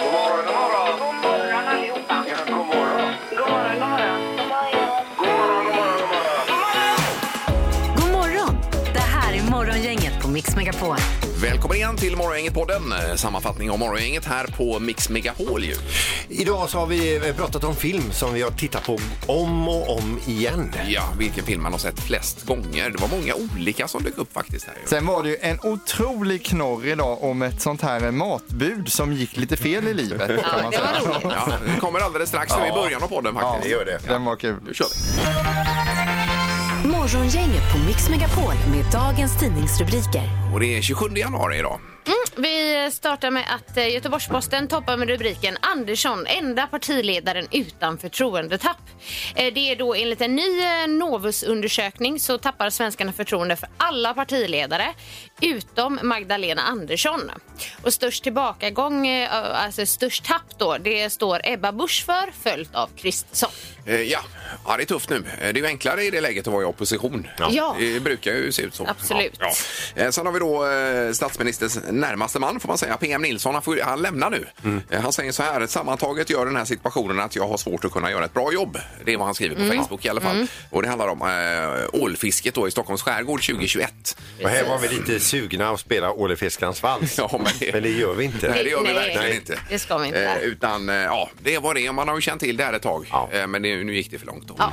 God morgon, god morgon. God morgon allihopa. Ja, god morgon. God morgon, god morgon. God morgon. God morgon, god morgon, god morgon. God morgon! Det här är Morgongänget på Mix Megapol. Välkommen igen till Morgongänget-podden. Eh, Sammanfattning av Morgongänget här på Mix Megapol. Ju. Idag så har vi eh, pratat om film som vi har tittat på om och om igen. Ja, vilken film man har sett flest gånger. Det var många olika som dök upp faktiskt. här. Ju. Sen var det ju en otrolig knorr idag om ett sånt här matbud som gick lite fel i livet. Kan man säga. Ja, den kommer alldeles strax nu i början av podden faktiskt. gör det. Den var kul. Nu kör vi. Morgongänget på Mix Megapol med dagens tidningsrubriker. Och det är 27 januari idag. Mm, Vi startar med att eh, Göteborgs-Posten toppar med rubriken Andersson, enda partiledaren utan förtroendetapp. Eh, Det är då enligt en ny eh, Novus-undersökning så tappar svenskarna förtroende för alla partiledare utom Magdalena Andersson. Och störst tillbakagång, eh, alltså störst tapp då, det står Ebba Busch för följt av Kristersson. Eh, Ja. ja, det är tufft nu. Eh, Det är ju enklare i det läget att vara i opposition. Ja. Det brukar ju se ut så. Absolut. Ja, ja. Eh, Sen har vi då eh, statsministerns närmaste man, får man säga. PM Nilsson, han, får, han lämnar nu. Eh, Han säger så här, sammantaget gör den här situationen att jag har svårt att kunna göra ett bra jobb. Det är vad han skriver på Mm. Facebook i alla fall. Och det handlar om eh, ålfisket då i Stockholms skärgård 2021. Och här var vi lite sugna att spela Ålefiskarens vals. Ja, men det- men det gör vi inte. Nej, det gör vi Nej, verkligen nej. inte. Det ska vi inte. Eh, utan, eh, ja, det var det. Man har ju känt till det här ett tag. Ja. Eh, men det, nu gick det för långt då. Ja.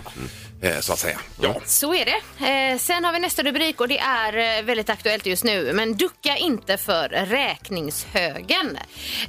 Eh, så att säga. Ja. Så är det. Eh, sen har vi nästa rubrik och det är eh, väldigt aktuellt just nu. Men ducka inte för räkningshögen.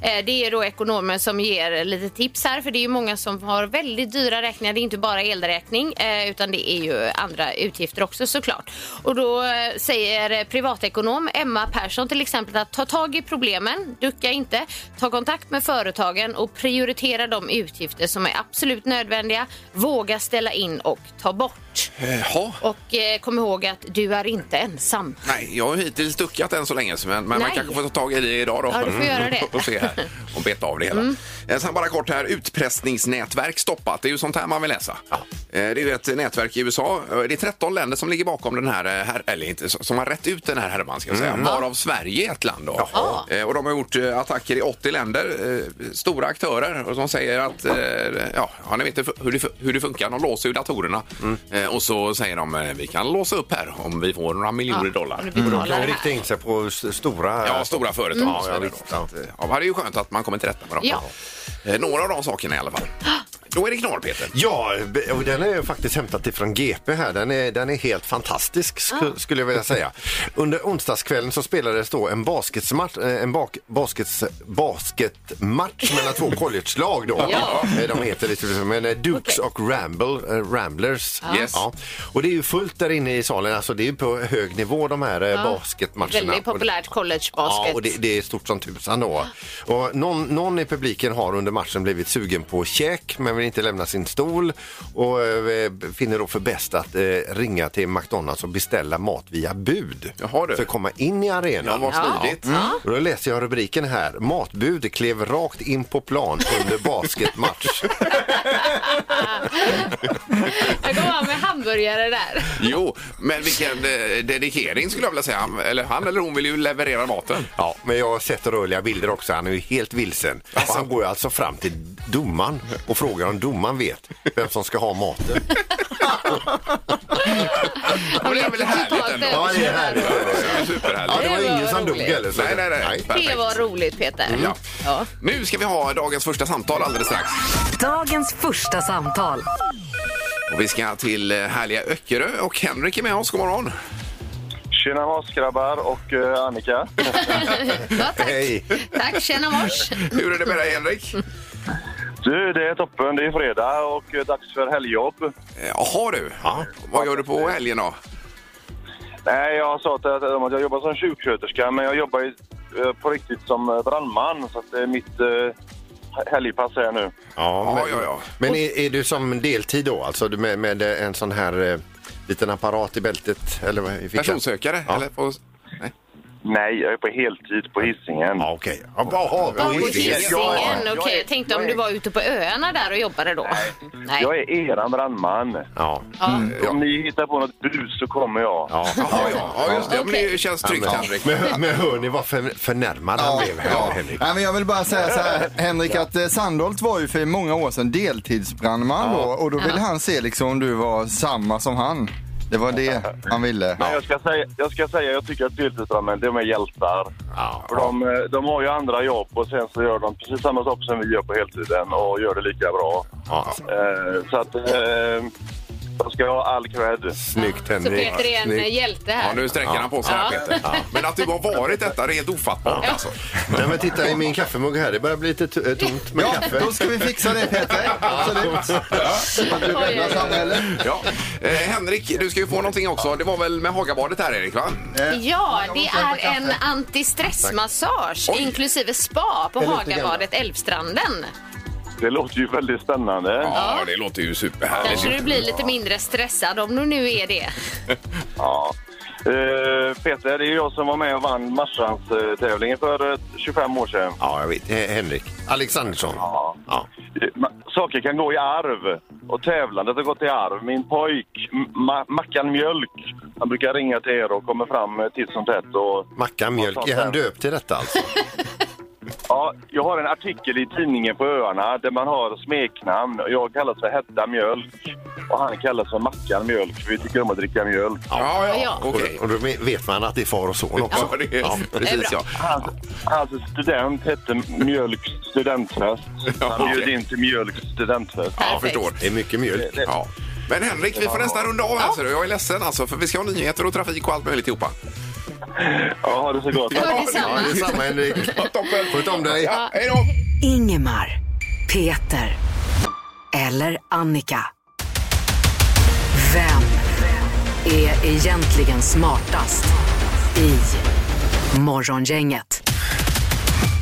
Eh, det är då ekonomer som ger lite tips här för det är ju många som har väldigt dyra räkningar. Det är inte bara elräkning eh, utan det är ju andra utgifter också såklart. Och då eh, säger eh, privatekonom Emma Persson till exempel att ta tag i problemen, ducka inte, ta kontakt med företagen och prioritera de utgifter som är absolut nödvändiga, våga ställa in och ta bort. Jaha. Och eh, kom ihåg att du är inte ensam. Nej, jag har ju hittills duckat än så länge, så men, men man Nej. kanske får ta tag i det idag då. Ja, du får göra det. och se här och beta av det hela. Mm. Eh, Sen bara kort här, utpressningsnätverk stoppat. Det är ju sånt här man vill läsa. Eh, Det är ju ett nätverk i USA. Eh, Det är 13 länder som ligger bakom den här, eh, här eller inte, som har rätt ut den här härvan ska jag säga. Mm. Varav Sverige är ett land då. Jaha. Eh, Och de har gjort eh, attacker i 80 länder, eh, stora aktörer, och som säger att, eh, ja, ja, ni vet hur- hur det, hur det funkar. De låser ju datorerna Mm. Eh, och så säger de, eh, vi kan låsa upp här om vi får några miljoner dollar. Om du Och de betalar kan det ju här. rikta in sig på s- stora... Ja, stora företag. och så Mm. Ja, vidare. visst. Så att, eh, ja, men det är ju skönt att man kommer till rätta med dem. Ja. Eh, Några av de sakerna i alla fall. Då är det knorr, Peter. Ja, be- och den är jag faktiskt hämtat ifrån GP här. Den är, den är helt fantastisk sku- skulle jag vilja säga. Under onsdagskvällen så spelades då en basketsmatch, eh, en bak, baskets, basketmatch mellan två collegelag då. Ja. Eh, De heter lite men eh, Dukes Okej. och Ramble, eh, Ramblers. Yes. Och det är ju fullt där inne i salen, alltså det är ju på hög nivå de här eh, basketmatcherna. Väldigt populärt Ja, collegebasket. och det, det är stort som tusan då. Och någon, någon i publiken har under matchen blivit sugen på käk men vill inte lämna sin stol och eh, finner då för bäst att eh, ringa till McDonalds och beställa mat via bud Jaha, du. för att komma in i arenan. Ja, vad smidigt. Och då läser jag rubriken här. Matbud klev rakt in på plan under basketmatch. Jag kommer av med hamburgare där. Jo, men vilken eh, dedikering skulle jag vilja säga. Han eller, han eller hon vill ju leverera maten. Ja, men jag har sett rörliga bilder också. Han är ju helt vilsen. Och han går ju alltså fram till domaren och frågar om domaren vet vem som ska ha maten. Men det är väl härligt totalt ändå? Ja, det är härligt. Det är Superhärligt. Ja, det var Det var ingen som dog roligt. heller. så- Nej, nej, nej. Det Perfekt. var roligt Peter. Ja. Ja. Nu ska vi ha dagens första samtal alldeles strax. Dagens första samtal. Och vi ska till eh, härliga Öckerö och Henrik är med oss. God morgon. Tjena Mossgrabbar och eh, Annika. Ja, tack. Hej. Tack, tjena mors. Hur är det med dig Henrik? Du, det är toppen. Det är fredag och eh, dags för helgjobb. Eh, Jaha du. Vad gör du på helgen då? Nej, jag sa att, eh, att, om att jag jobbar som sjuksköterska, men jag jobbar ju, eh, på riktigt som eh, brandman. Så att det är mitt eh, helgpass här nu. Ja, men, ja, ja. men är, är du som deltid då? Alltså du med, med en sån här eh, liten apparat i bältet? Eller vad- i fickan? Personsökare? Ja. Eller på... Nej. Nej, jag är på heltid på Hisingen. Ja, okej. Ja, Jaha, på Ja, på Hisingen. Hisingen, Ja, okej. jag är- Jag tänkte jag om är- du var ute på öarna där och jobbade då. Nej. Jag är eran brandman. Ja. Ja. Om ni hittar på något bus så kommer jag. Ja. Ja, ja, ja, just det. Ja, Men det Okej. känns tryggt, Henrik. Men, men hör ni vad för, förnärmad han blev här, Henrik? Nej, men jag vill bara säga så här, Henrik, att eh, Sandholt var ju för många år sedan deltidsbrandman då, och då ville han se liksom om du var samma som han. Det var det han ville. Men jag ska säga, jag ska säga, jag tycker att deltidsbrandmän, de är hjältar. Ja. För de, eh, de har ju andra jobb och sen så gör de precis samma sak som vi gör på heltiden och gör det lika bra. Ja. Eh, så att eh, de ska ha all cred. Snyggt, Så Henrik. Peter är en Snyggt. hjälte Ja, här. nu sträcker han på sig här, Peter. Men att du har varit detta, det är helt ofattbart alltså. Nej, men titta i min kaffemugg här. Det börjar bli lite t- eh, tomt med Ja, kaffe. då ska vi fixa det Peter. Absolut. Ja. Att du räddar samhället. Ja. Eh, Henrik, du ska ju få någonting också. Det var väl med Hagabadet här, Erik? Va? Ja, jag det måste hämta är en kaffe. antistressmassage Oj. inklusive spa på Det låter Hagabadet Älvstranden. Det låter ju väldigt spännande. Ja, det låter ju superhärligt. Kanske du blir lite mindre stressad om du nu är det. Ja. Eh, Peter, det är jag som var med och vann Marstrands-tävlingen för eh, 25 år sedan. Ja, jag vet. Eh, Henrik. Alexandersson. Ja. Ja. Eh, ma- Saker kan gå i arv och tävlandet har gått i arv. Min pojk, M- ma Mackan Mjölk, han brukar ringa till er och kommer fram eh, titt som tätt. Och, Macka mjölk. Är han döpt till detta alltså? ja, jag har en artikel i tidningen på öarna där man har smeknamn. Jag kallas för Hedda Mjölk och han kallas för Mackan Mjölk för vi tycker om att dricka mjölk. Ja, ja, Ja. okej. Och då vet man att det är far och son också. Ja, det är, precis ja. Hans, hans student hette Mjölks studentfest. Han bjöd in till Mjölks studentfest. ja förstår. Det är mycket mjölk. Ja. Men Henrik, vi får nästan runda av här ser du. Jag är ledsen alltså, för vi ska ha nyheter och trafik och allt möjligt ihop. Ja, ha det så gott. Hör detsamma. Ja, det är samma Henrik. Toppen! Sköt om dig. Ja, hej då! Ingemar, Peter eller Annika. Vem är egentligen smartast i Morgongänget?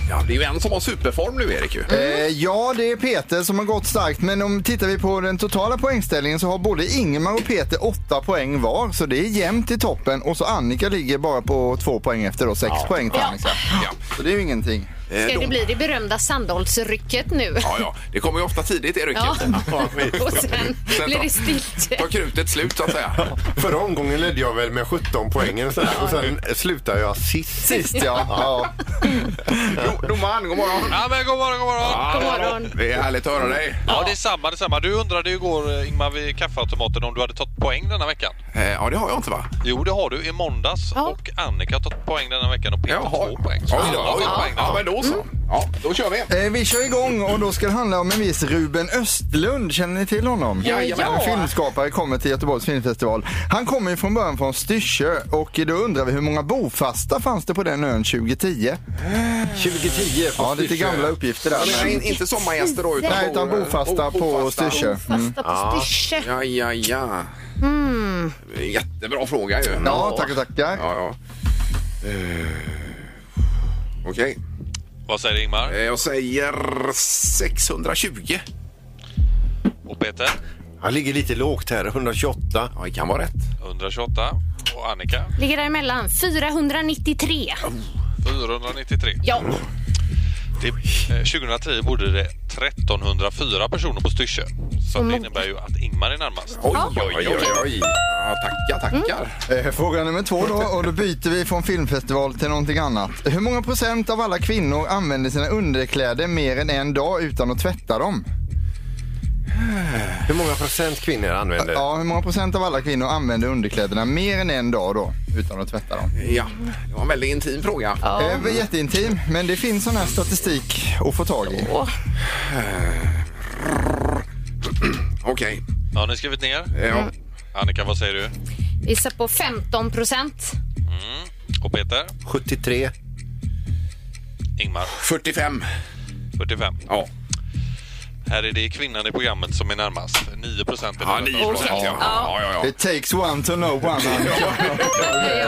Ja, det är ju en som har superform nu, Erik. Ju. Eh, ja, det är Peter som har gått starkt, men om tittar vi på den totala poängställningen så har både Ingemar och Peter åtta poäng var, så det är jämnt i toppen. Och så Annika ligger bara på två poäng efter då, sex poäng till Annika. Ja. Så det är ju ingenting. Ska det bli det berömda Sandholtsrycket nu? Ja, ja. Det kommer ju ofta tidigt i rycket. Ja. Ja. Och sen Sen blir då. det stilt. Tar krutet slut, så att säga. Förra omgången ledde jag väl med 17 poäng och, sådär. och sen slutade jag sist. Sist ja. ja. Jo, Domaren, god morgon! Ja, men god morgon, god morgon. Ja, God morgon. Det är härligt att höra dig. Ja, det är samma, det är samma. Du undrade ju igår, eh, Ingmar, vid kaffeautomaten om du hade tagit poäng denna veckan. Eh, Ja, det har jag inte, va? Jo, det har du i måndags Ja. och Annika har tagit poäng denna veckan och Peter två poäng. Så Oj, alla har oj, tagit oj. poäng denna Ja, men då så. Ja, då kör vi. Eh, vi kör igång och då ska det handla om en viss Ruben Östlund. Känner ni till honom? Jajamän. En filmskapare kommer till Göteborgs filmfestival. Han kommer ju från början från Styrsö och då undrar vi hur många bofasta fanns det på den ön 2010? 2010 på Ja, lite Styrsö. gamla uppgifter där. Jag menar, in- inte sommargäster då, utan, Nej, utan bofasta på bofasta. Styrsö. Fasta på Styrsö. Ja, ja, ja. Jättebra fråga ju. Ja, tackar, tackar. Ja, ja. Eh, Okej. Vad säger Ingmar Eh, Jag säger 620. och Peter? Han ligger lite lågt här, 128. Ja, det kan vara rätt. 128 och Annika Ligger däremellan. 493. 493. Ja, Det, eh, 2010 bodde det 1304 personer på Styrsö. Så det innebär ju att Ingmar är närmast. Oj, oj, oj, oj, oj. Ja, tackar, tackar. Eh, Fråga nummer två då, och då byter vi från filmfestival till någonting annat. Hur många procent av alla kvinnor använder sina underkläder mer än en dag utan att tvätta dem? Hur många procent kvinnor använder? Ja, hur många procent av alla kvinnor använder underkläderna mer än en dag då utan att tvätta dem? Ja, det var en väldigt intim fråga. Eh, jätteintim, men det finns sån här statistik att få tag i. Okej. Har ni skrivit ner? Ja. Annika, vad säger du? gissa på 15 procent. Och Peter? 73. Ingmar? 45. 45. Ja. Här är det kvinnan i programmet som är närmast. 9 procent. Ja, 9 procent. Okej. Ja. Ja, Ja. ja, ja. It takes one to know one. Ja, Bra,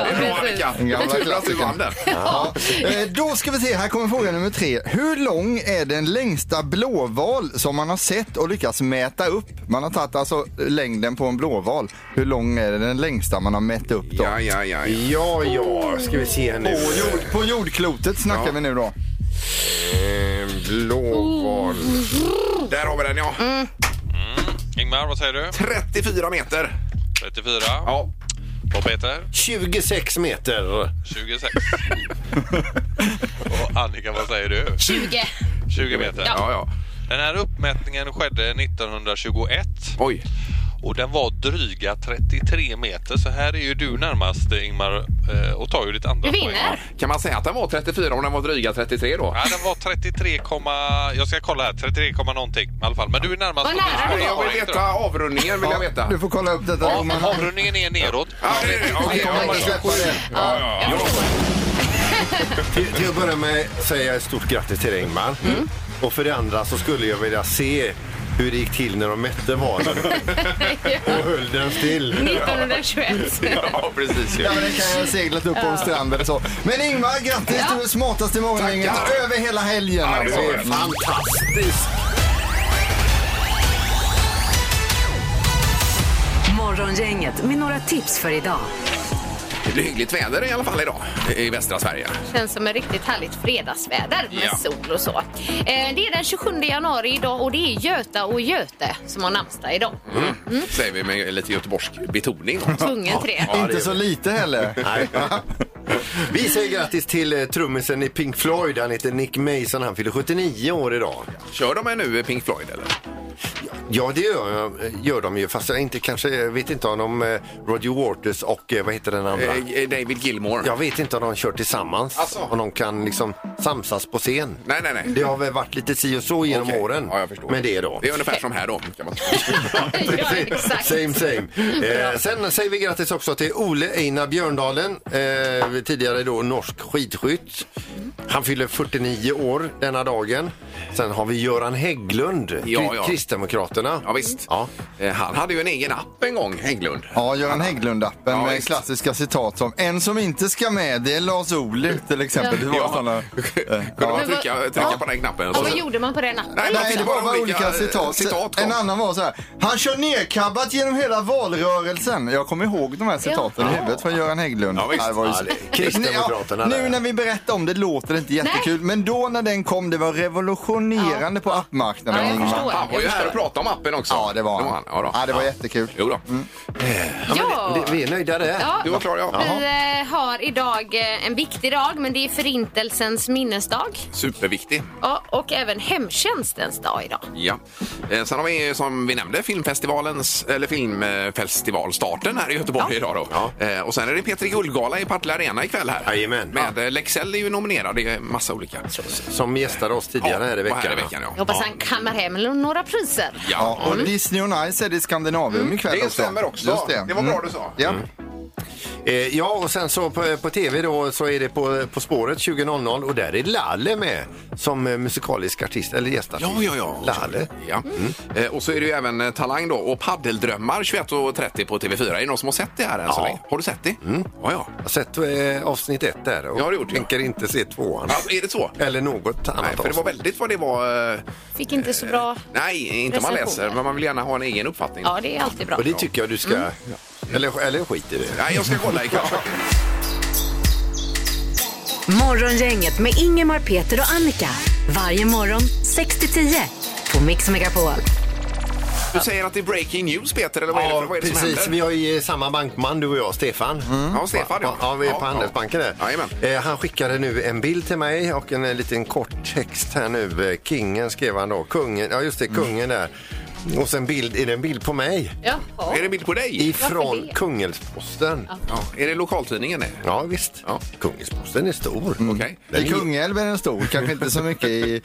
precis. Annika. Den gamla Tur att du vann den. Ja. Eh, Då ska vi se, här kommer fråga nummer tre. Hur lång är den längsta blåval som man har sett och lyckats mäta upp? Man har tagit alltså längden på en blåval. Hur lång är den längsta man har mätt upp då? Ja, ja, ja. ja. Ja, ja, ska vi se här nu. På, jord, på jordklotet snackar Ja. vi nu då. Eh, Blåval. Ehm, Där har vi den, ja. Ingmar, vad säger du? 34 meter. 34. Ja. Och Peter? 26 meter. 26. Och Annika, vad säger du? 20. 20 meter. Ja, ja. Den här uppmätningen skedde 1921 Oj. och den var dryga 33 meter. Så här är ju du närmast Ingmar eh, och tar ju ditt andra Du poäng. vinner. Kan man säga att den var 34 om den var dryga 33 då? Ja, den var 33, jag ska kolla här, 33, komma någonting i alla fall. Men du är närmast. Vad nära Nej, det Jag vill veta avrundningen. Vill jag veta. Du får kolla upp detta. Ja, Roman. avrundningen är neråt. Ja, det är det. Okej, Jag kommer ja, inte släppa det. ja, ja, ja. Till, till att börja med säger jag ett stort grattis till dig, Ingmar. Och för det andra så skulle jag vilja se hur det gick till när de mätte valen och höll den still. 1921. Ja, precis. ju. Ja, men det kan jag ha seglat upp på en strand eller så. Men Ingmar, grattis! Du är smartast i morgongänget Tackar. över hela Ja, helgen. det alltså. var det. Fantastiskt! Morgongänget med några tips för idag. Det blir hyggligt väder i alla fall idag i västra Sverige. Känns som ett riktigt härligt fredagsväder med Ja. sol och så. Eh, Det är den 27 januari idag och det är Göta och Göte som har namnsdag idag. Mm. Säger vi med lite göteborgsk betoning. Tvungen till det. Inte så lite heller. Nej. Vi säger grattis till eh, trummisen i Pink Floyd. Han heter Nick Mason. Han fyller 79 år idag. Kör de här nu Pink Floyd eller? Ja, det gör, eh, gör de ju. Fast jag inte, kanske, jag vet inte om de, eh, Roger Waters och eh, vad heter den andra? Eh, eh, David Gilmore. Jag vet inte om de kör tillsammans. Alltså. Om de kan liksom samsas på scen. Nej, nej, nej. Det har väl varit lite si och så genom Okej. åren. Ja, jag förstår. Men det är då. Det är ungefär som här då. Kan man... Ja, exakt. Same same. Eh, sen säger vi grattis också till Ole Einar Björndalen, eh, tidigare då norsk skidskytt. Han fyller 49 år denna dagen. Sen har vi Göran Hägglund, Ja, ja. Kristdemokraterna. ja, visst. Ja. Eh, Han hade ju en egen app en gång, Hägglund. Ja, Göran Hägglund-appen Ja, med visst. klassiska citat som En som inte ska med, det är Lars Ohly till exempel. Det var Ja. sådana... Kunde man Men vad- trycka, trycka på den knappen? Och vad gjorde man på den appen? man Nej, fick det var bara olika eh, citat. citat kom. en annan var så här. Han kör nerkabbat genom hela valrörelsen. Jag kommer ihåg de här citaten i huvudet från Göran Hägglund. Ja, visst. Det var ju så- Ja, det- Kristdemokraterna Ja, där. Nu när vi berättar om det låter det inte jättekul, men då när den kom, det var revolutionerande på appmarknaden. Ja, jag Ingmar. förstår. Han var ju här och pratade om appen också. Ja, det var han. Ja, då. Ja, det var Mm. jättekul. Jo då. Ja. Vi är nöjda där. Ja. Du var klar, ja. Vi eh, har idag eh, en viktig dag, men det är Förintelsens minnesdag Superviktig. Ja, och även hemtjänstens dag idag. Ja. Eh, Sen har vi som vi nämnde filmfestivalens, eller filmfestivalstarten här i Göteborg idag då. Ja. Eh, Och sen är det Petri Guldgala i Partille Arena ikväll här. Jajamän. Med eh, Leksell är ju nominerad i massa olika. Som gästade oss tidigare här i och veckan. Här i veckan Jag ja. hoppas han kammar hem några priser. Ja. Mm. Ja, och Mm. Disney on Ice är det i Skandinavium ikväll Det också. stämmer också. Just Det var bra Mm. du sa. Ja. Eh, ja, och sen så på, på tv då så är det på, på spåret 20.00 och där är Lalle med som eh, musikalisk artist eller gästartist. Ja, ja, ja. Lalle. Ja. Eh, Och så är det ju även eh, Talang då och Paddeldrömmar 21.30 på TV4. Är det någon som har sett det här än så Ja. länge? Har du sett det? Ja, ja. Jag har sett eh, avsnitt ett där och Ja, det gjorde jag. tänker inte se tvåan. Alltså, är det så? Eller något annat Nej, för det var avsnitt. väldigt vad det var. eh, Fick inte så bra... Nej, inte man läser, Recensioner. men man vill gärna ha en egen uppfattning. Ja, det är alltid bra. Och det tycker jag du ska... Mm. Eller, eller skit i det. Nej, jag ska kolla ikväll. Morgongänget med Ingemar, Peter och Annika. Varje morgon 6 till 10 på Mix Megapol. Du säger att det är breaking news, Peter, eller vad är det, för, vad är det som precis. händer? Mm. Vi har ju eh, samma bankman, du och jag, Stefan. Ja, Stefan, ja. ja. vi är på Ja, Handelsbanken där. ja. Jajamän. Eh, han skickade nu en bild till mig och en, eh, liten kort text här nu. Eh, Kingen skrev han då. Kungen, ja just det, Mm. kungen där. Och sen bild, är det en bild på mig? Jaha. Är det en bild på dig? Ifrån det? Kungälvsposten. Ja. Är det lokaltidningen? det? Ja visst. Ja. Mm. Kungälvsposten är stor. Okej. I Kungälv är den stor, kanske inte så mycket i...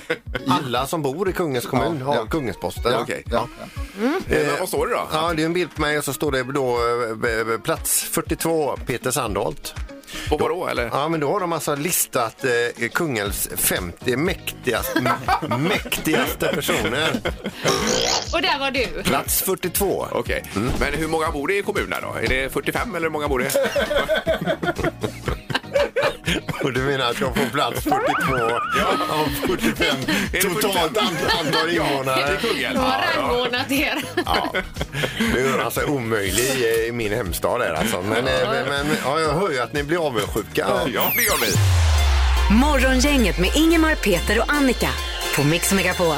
Alla som bor i Kungens kommun Ja, har ja. Kungälvsposten. Okej. Ja. Eh, Men vad står det då? Ja, det är en bild på mig och så står det då eh, plats 42, eh, Peter Sandholt. På vadå eller? Ja, men då har de alltså listat eh, kungens 50 mäktigaste, mäktigaste personer. Och där var du. Plats 42. Okej. Men hur många bor det i kommunen då? Är det 45 eller hur många bor det? Och du menar att jag får plats 42 av 45 det 45? totalt an- antal invånare? Kungälv? Du har rangordnat er. Ja, nu gör han sig omöjlig i, i min hemstad där alltså. Men, eh, men, men ja, jag hör ju att ni blir avundsjuka. Ja, det gör vi. Morgongänget med Ingemar, Peter och Annika på Mix Megapol.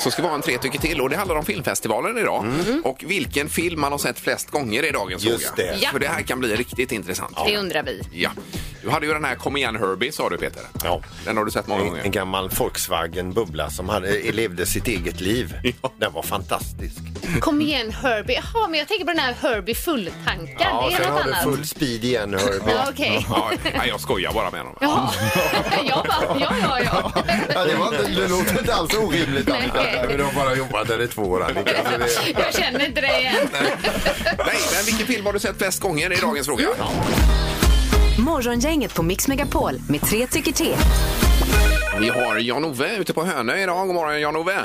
Så ska vi ha en tre tycker till och det handlar om filmfestivalen idag. Och vilken film man har sett flest gånger i dagens Mm. Just fråga. det. Ja. För det här kan bli riktigt intressant. Det undrar vi. Ja. Du hade ju den här Kom igen Herbie sa du Peter. Ja. Den har du sett många En, en gånger. gammal Volkswagen Bubbla som hade, eh, levde sitt eget liv. Ja. Den var fantastisk. Kom igen Herbie. Jaha, men jag tänker på den här Herbie full-tanken. det är sen något har du annat. full speed igen Herbie. Ja, okej. Ja, nej, jag skojar bara med honom. Jaha. jag bara, ja, ja, ja. Ja, det, var inte, det låter inte alls orimligt Nej. Annika. Nej, men du har bara jobbat där i två år Annika. Så det- Jag känner inte dig än. Nej, men vilken film har du sett flest gånger i dagens fråga? Morgongänget på Mix Megapol med tre tycker till. Vi har Jan-Ove ute på Hönö idag. God morgon Jan-Ove.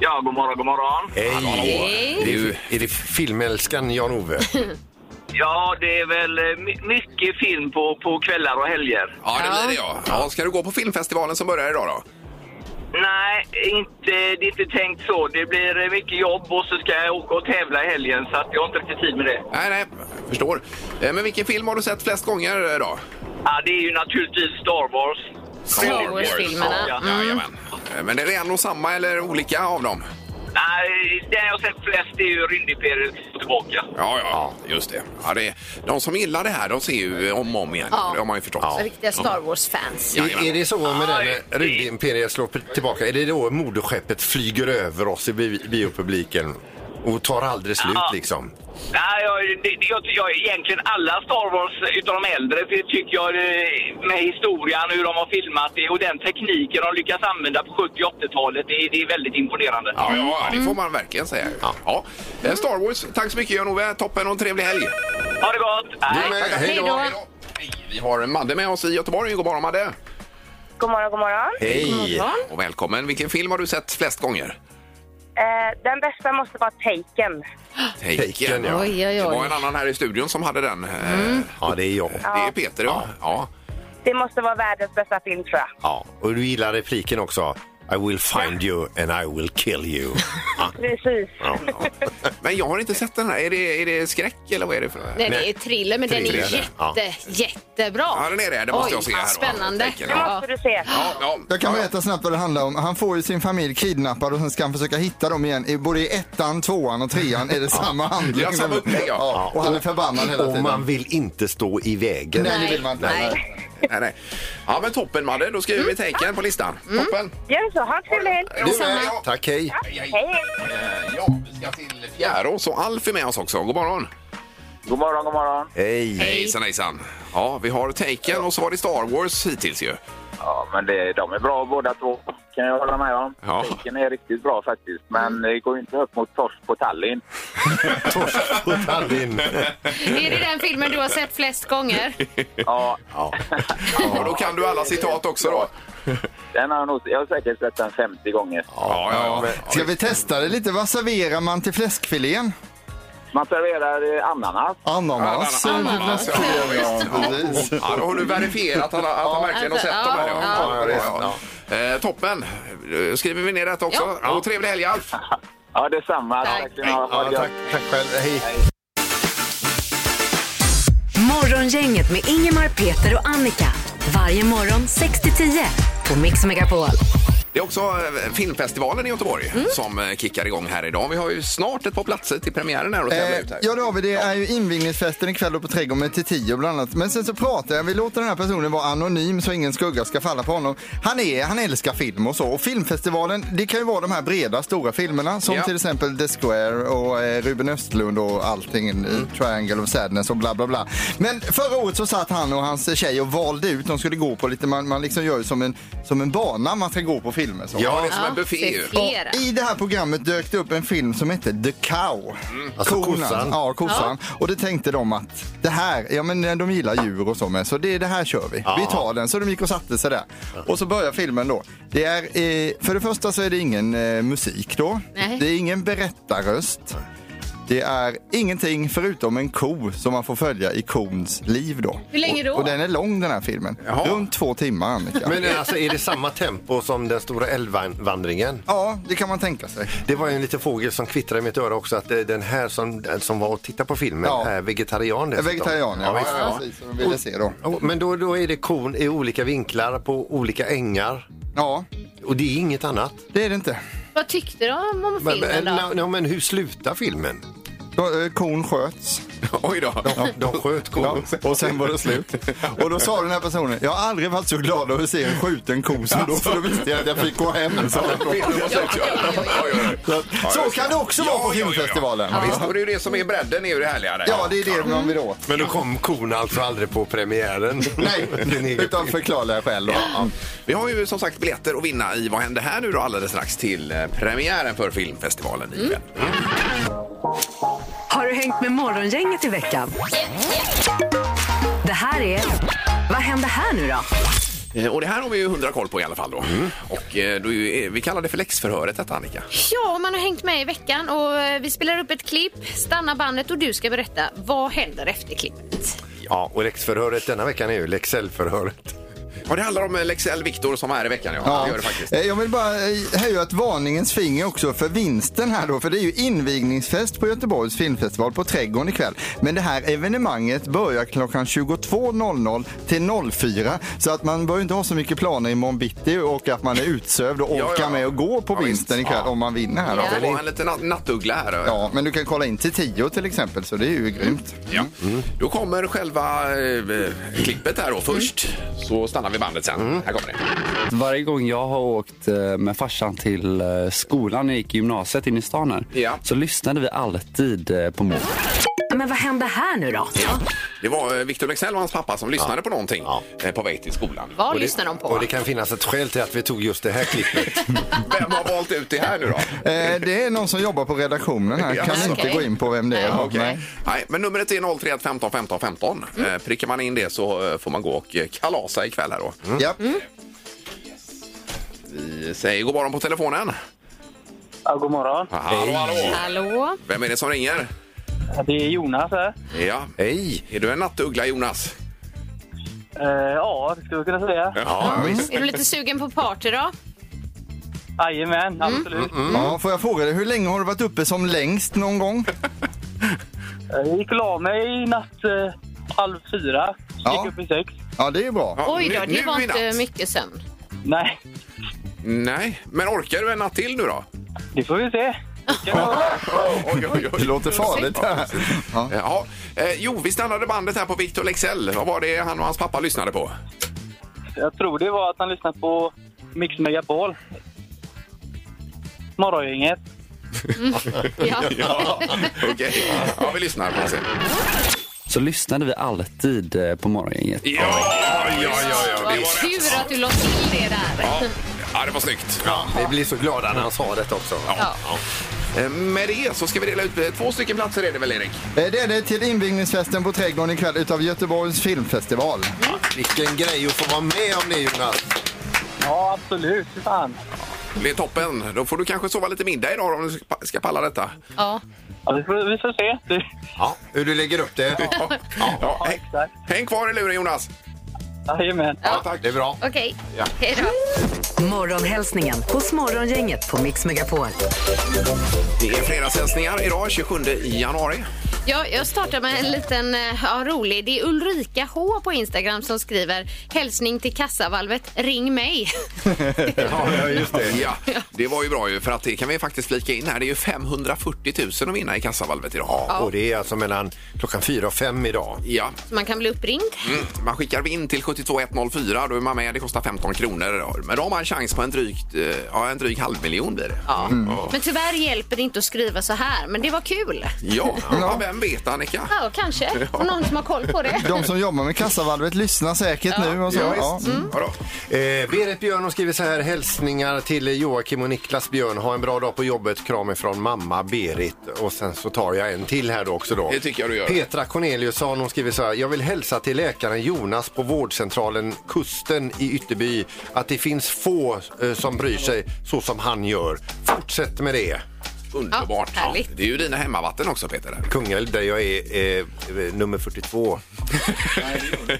Ja, god morgon, god morgon. Hej! Hej. Är det, är det filmälskaren Jan-Ove? Ja, det är väl eh, my- mycket film på, på kvällar och helger. Ja, det blir det ja. ja. Ska du gå på filmfestivalen som börjar idag då? Nej, inte, det är inte tänkt så. Det blir eh, mycket jobb och så ska jag åka och tävla i helgen så att jag har inte riktigt tid med det. Nej, nej, förstår. Eh, Men vilken film har du sett flest gånger eh, idag? Ja, det är ju naturligtvis Star Wars. Star Wars-filmerna. Ja, Mm. Jajamän. Eh, Men är det en och samma eller olika av dem? Nej, det jag har sett flest är ju Rymdimperiet och tillbaka. Ja, ja, just det. Ja, det de som gillar det här, de ser ju om och om igen. Ja. Det har man ju förstått. Mm. Mm. Riktiga Star Wars-fans. Jajamän. Är, är det så med Ja, den det- när rymdimperiet slår p- tillbaka? Är det då moderskeppet flyger över oss i bi- biopubliken och tar aldrig slut Ja. liksom? Nej, jag, det, det- jag, jag, egentligen alla Star Wars utav de äldre för det tycker jag eh, med historien, hur de har filmat det och den tekniken de lyckas använda på 70 och 80-talet, det, det är väldigt imponerande. Ja, ja, det Mm. får man verkligen säga. Ja. Eh, Star Wars, tack så mycket Jan-Ove. Toppen och en trevlig helg. Ha det gott! Du med, hej Hej då. då! Hej, Vi har Madde med oss i Göteborg. God morgon Madde! God morgon, god morgon. Hej! Och välkommen. Vilken film har du sett flest gånger? Eh, den bästa måste vara Taken. Taken. Taken, ja. Oj, oj, Mm. Det var oj. en annan här i studion som hade den. Eh, Ja, det är jag. Det är Peter, ja. ja. Det måste vara världens bästa film, tror jag. Ja. Och du gillar repliken också. I will find you and I will kill you. Precis. Men jag har inte sett den här. Är det, är det skräck eller vad är det för? Nej, det är thriller, men den är Thriller, jätte, ja. jättebra. Ja, den är det. Det måste Oj, jag se här. va? Spännande. Taken, Det ja. måste du se. Ja, ja. Jag kan berätta snabbt vad det handlar om. Han får ju sin familj kidnappad och sen ska han försöka hitta dem igen. I Både i ettan, tvåan och trean är det samma handling. Ja, samma upplägg, ja. Ja, Och han är förbannad hela Och tiden. man vill inte stå i vägen. Nej, det vill man inte. Nej. Nej, nej. ja, men toppen Madde. Då skriver vi Mm. Taken på listan. Toppen. Gör så. Ha en trevlig helg. Du med. Tack, hej. Hej, hej. Eh, Ja, vi ska till Fjärås och Alf är med oss också. God morgon! God morgon, god morgon. Hej. Hejsan, hejsan. Ja, vi har Taken och så var det Star Wars hittills ju. Ja, men det, de är bra båda två, kan jag hålla med om. Ja. Taken är riktigt bra faktiskt, men det går ju inte upp mot Torsk på Tallinn. Torsk på Tallinn. Är det den filmen du har sett flest gånger? Ja, Ja. Ja, då kan du alla citat också då. den har jag, nog, jag har säkert sett den 50 gånger. Ja, ja, ja. Ska vi testa det lite? Vad serverar man till fläskfilén? Man serverar eh, ananas. Ananas. Ananas, ja, visst. Precis. Ja, då har du verifierat att han, att han verkligen har sett Alltså, dem här. ja, Ja, ja, ja. Eh, toppen! Eh, Skriver vi ner detta också? Ja. Och trevlig helg, Alf! Ja, detsamma. Tack. Tack. Ha, ha Ja, det gött. tack, tack själv. Hej. Morgongänget med Ingemar, Peter och Annika. Varje morgon 6 till 10 på Mix Megapol. Det är också eh, filmfestivalen i Göteborg som eh, kickar igång här idag. Vi har ju snart ett par platser till premiären här att tävla ut Eh, här. ja det har vi. Det är ju invigningsfesten ikväll uppe på Trädgården till 10 bland annat. Men sen så pratar jag, vi låter den här personen vara anonym så ingen skugga ska falla på honom. Han, är, han älskar film och så. Och filmfestivalen, det kan ju vara de här breda stora filmerna som Ja. till exempel The Square och eh, Ruben Östlund och allting. Mm. eh, Triangle of Sadness och bla bla bla. Men förra året så satt han och hans tjej och valde ut, de skulle gå på lite, man, man liksom gör ju som en, som en bana man ska gå på filmer. Så. Ja, det är som Ja, en buffé det är ju. flera. I det här programmet dök det upp en film som hette The Cow. Alltså kossan. Ja, kossan. Och det tänkte de att det här, ja men eh, de gillar djur och så med, så det, det här kör vi. Vi tar den. Så de gick och satte sig där. Och så börjar filmen då. Det är, eh, för det första så är det ingen eh, musik då. Nej. Det är ingen berättarröst. Det är ingenting förutom en ko som man får följa i kons liv då. Hur länge då? Och, och den är lång den här filmen. Jaha. Runt två timmar Annika. Men eh, alltså, är det samma tempo som den stora älvvandringen? Ja, det kan man tänka sig. Det var ju en liten fågel som kvittrade i mitt öra också att eh, den här som, som var och tittade på filmen Ja. är vegetarian dessutom. Vegetarian, ja. visst. ja, ja, precis, som de ville se då. Och- Men då, då är det korn i olika vinklar på olika ängar Ja, och det är inget annat. det är det inte. Vad tyckte de om Men, filmen men, då? no, men hur slutar filmen? Då, eh, Kon sköts. Oj då. De sköt kon. Ja, och sen var det slut. Och då sa den här personen, jag har aldrig varit så glad över att se en skjuten ko som då, Alltså. för då visste jag att jag fick gå hem. Så, så kan det också vara på Ja, ja, ja, ja. filmfestivalen. Ja, visst, och det är ju det som är bredden, är ju det härliga där. Ja, det är det man vill åt. Men då kom kon alltså aldrig på premiären. Nej, Din egen- utan förklarliga skäl då. Vi har ju som sagt biljetter att vinna i Vad händer här nu då alldeles strax till eh, premiären för filmfestivalen i kväll. Mm. Har du hängt med Morgongänget i veckan? Det här är... Vad händer här nu då? Eh, Och det här har vi ju hundra koll på i alla fall då. Mm. Och eh, då är ju, eh, vi kallar det för läxförhöret detta Annika. Ja, man har hängt med i veckan och eh, vi spelar upp ett klipp, stanna bandet och du ska berätta vad händer efter klippet. Ja, och läxförhöret denna veckan är ju Lexellförhöret. Och det handlar om eh, Lexell Viktor som är här i veckan ja. Ja. Det gör det faktiskt. Eh, Jag vill bara eh, höja ett varningens finger också för vinsten här då. För det är ju invigningsfest på Göteborgs filmfestival på Trädgården ikväll. Men det här evenemanget börjar klockan 22.00 till 04. Så att man bör inte ha så mycket planer imorgon bitti och att man är utsövd och orkar Ja, ja. med att gå på Ja, vinsten visst. ikväll Ja. om man vinner här då. Det var en liten nat- nattuggla här. eh. eh, Ja, men du kan kolla in till 10 till exempel så det är ju grymt. Ja. Mm. Då kommer själva eh, eh, klippet här då först. Mm. Så stannar vi bandet sen. Här kommer det. Varje gång jag har åkt eh, med farsan till eh, skolan när jag gick i gymnasiet in i stan här, Ja. så lyssnade vi alltid eh, på Moore. Men vad händer här nu då? Det var eh, Victor Lexell och hans pappa som lyssnade på någonting eh, på väg till skolan. Vad lyssnar de Och på? det kan finnas ett skäl till att vi tog just det här klippet. Vem har valt ut det här nu då? Eh, det är någon som jobbar på redaktionen här. Ja, Kan inte okej. gå in på vem det är. Okej. Nej. Nej, men numret är 031 15 15 15. Eh, Prickar man in det så eh, får man gå och eh, kalasa ikväll här då. Ja. Mm. Vi säger god morgon på telefonen. Ja, god morgon. Hallå, hallå! Hallå? Vem är det som ringer? Det är Jonas här. Ja. Hej! Är du en nattuggla Jonas? Eh, ja, det skulle jag kunna säga. Ja, visst. Är du lite sugen på party då? Jajamän, absolut. Mm. Ja, får jag fråga dig, hur länge har du varit uppe som längst någon gång? Jag gick och la mig i natt eh, halv fyra. Ja. Gick upp i sex. Ja, det är bra. Ja, Oj då, nu- det nu var i inte natt. mycket sömn. Nej, Nej, men orkar du en natt till nu då? det får vi se. Oj, oj, Det oj. låter farligt det här. Ja. Ja, eh, jo, vi stannade bandet här på Victor Lexell. Vad var det han och hans pappa lyssnade på? Jag tror det var att han lyssnade på Mix Megapol. Morgongänget. Ja. Ja, okej. Ja, vi lyssnar på det sen. Så lyssnade vi alltid eh, på Morgongänget. Ja, ja, ja, ja. Vad tur att du la till det där. Ja, ja, det var snyggt. Vi blir så glada när han sa detta också. Ja. Eh, Med det så ska vi dela ut eh, två stycken platser är det väl Erik? Eh, Det är det till invigningsfesten på Trädgården ikväll utav Göteborgs filmfestival. Vilken grej att få vara med om det Jonas! Ja, absolut. Fy Fan. Det är toppen. Då får du kanske sova lite middag idag om du ska- ska palla detta. Ja. Ja, vi, får, vi får se. Det, Ja, hur du lägger upp det. Ja, ja, häng, exakt. häng kvar i luren Jonas. Jajamän. Det är bra. Okej, hej då. Morgonhälsningen hos Morgongänget på Mix Megapol. Det är fredagshälsningar idag 27 januari. Ja, jag startar med en liten eh, ja, rolig. Det är Ulrika H på Instagram som skriver hälsning till kassavalvet, ring mig. Ja, just det. Ja, det var ju bra ju för att det kan vi faktiskt flika in här. Det är ju 540 000 att vinna i kassavalvet idag. Ja. Och det är alltså mellan klockan fyra och fem idag. Ja, Så man kan bli uppringd. mm. man skickar in till 72104, då är man med. Det kostar 15 kronor. Men då har man chans på en, drygt, eh, ja, en dryg halv miljon blir det. Mm. Ja. Men tyvärr hjälper det inte att skriva så här, men det var kul. Ja, ja. Vem vet, Annika? Ja, kanske. Någon som har koll på det. De som jobbar med kassavalvet lyssnar säkert nu. Och så. Ja, Ja. Mm. visst. Mm. Ja, då. Eh, Berit Björn har skrivit så här. Hälsningar till Joakim och Niklas Björn. Ha en bra dag på jobbet. Kram ifrån mamma Berit. Och sen så tar jag en till här då också då. Det tycker jag du gör. Petra Corneliusson hon skriver så här. Jag vill hälsa till läkaren Jonas på vårdcentralen Kusten i Ytterby att det finns få eh, som bryr sig så som han gör. Fortsätt med det. Underbart. Ja, härligt. det är ju dina hemmavatten också, Peter. där. Kungälv där jag är eh, nummer 42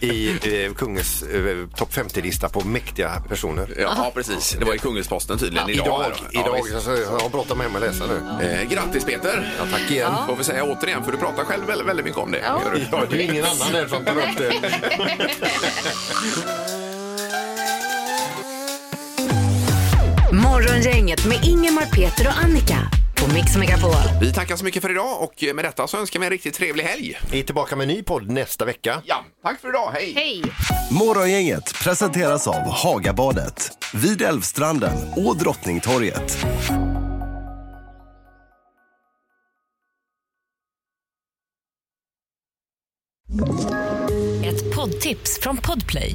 i eh, kungens eh, topp 50-lista på mäktiga personer. Ja, ja, precis. Det var i Kungälvsposten tydligen Idag, idag. Ja, idag. visst. alltså, jag har bråttom hem och läsa nu. Eh, grattis Peter! Ja, tack igen. Får vi säga återigen, för du pratar själv väldigt, väldigt mycket om det. Ja. Gör du? Ja, det är ingen annan här som tar upp det. Morgongänget med Ingemar, Peter och Annika på Mix Megapol. Vi tackar så mycket för idag och med detta så önskar vi en riktigt trevlig helg. Vi är tillbaka med en ny podd nästa vecka. Ja, tack för idag. Hej! Hej! Morgongänget presenteras av Hagabadet, vid Älvstranden och Drottningtorget. Ett poddtips från Podplay.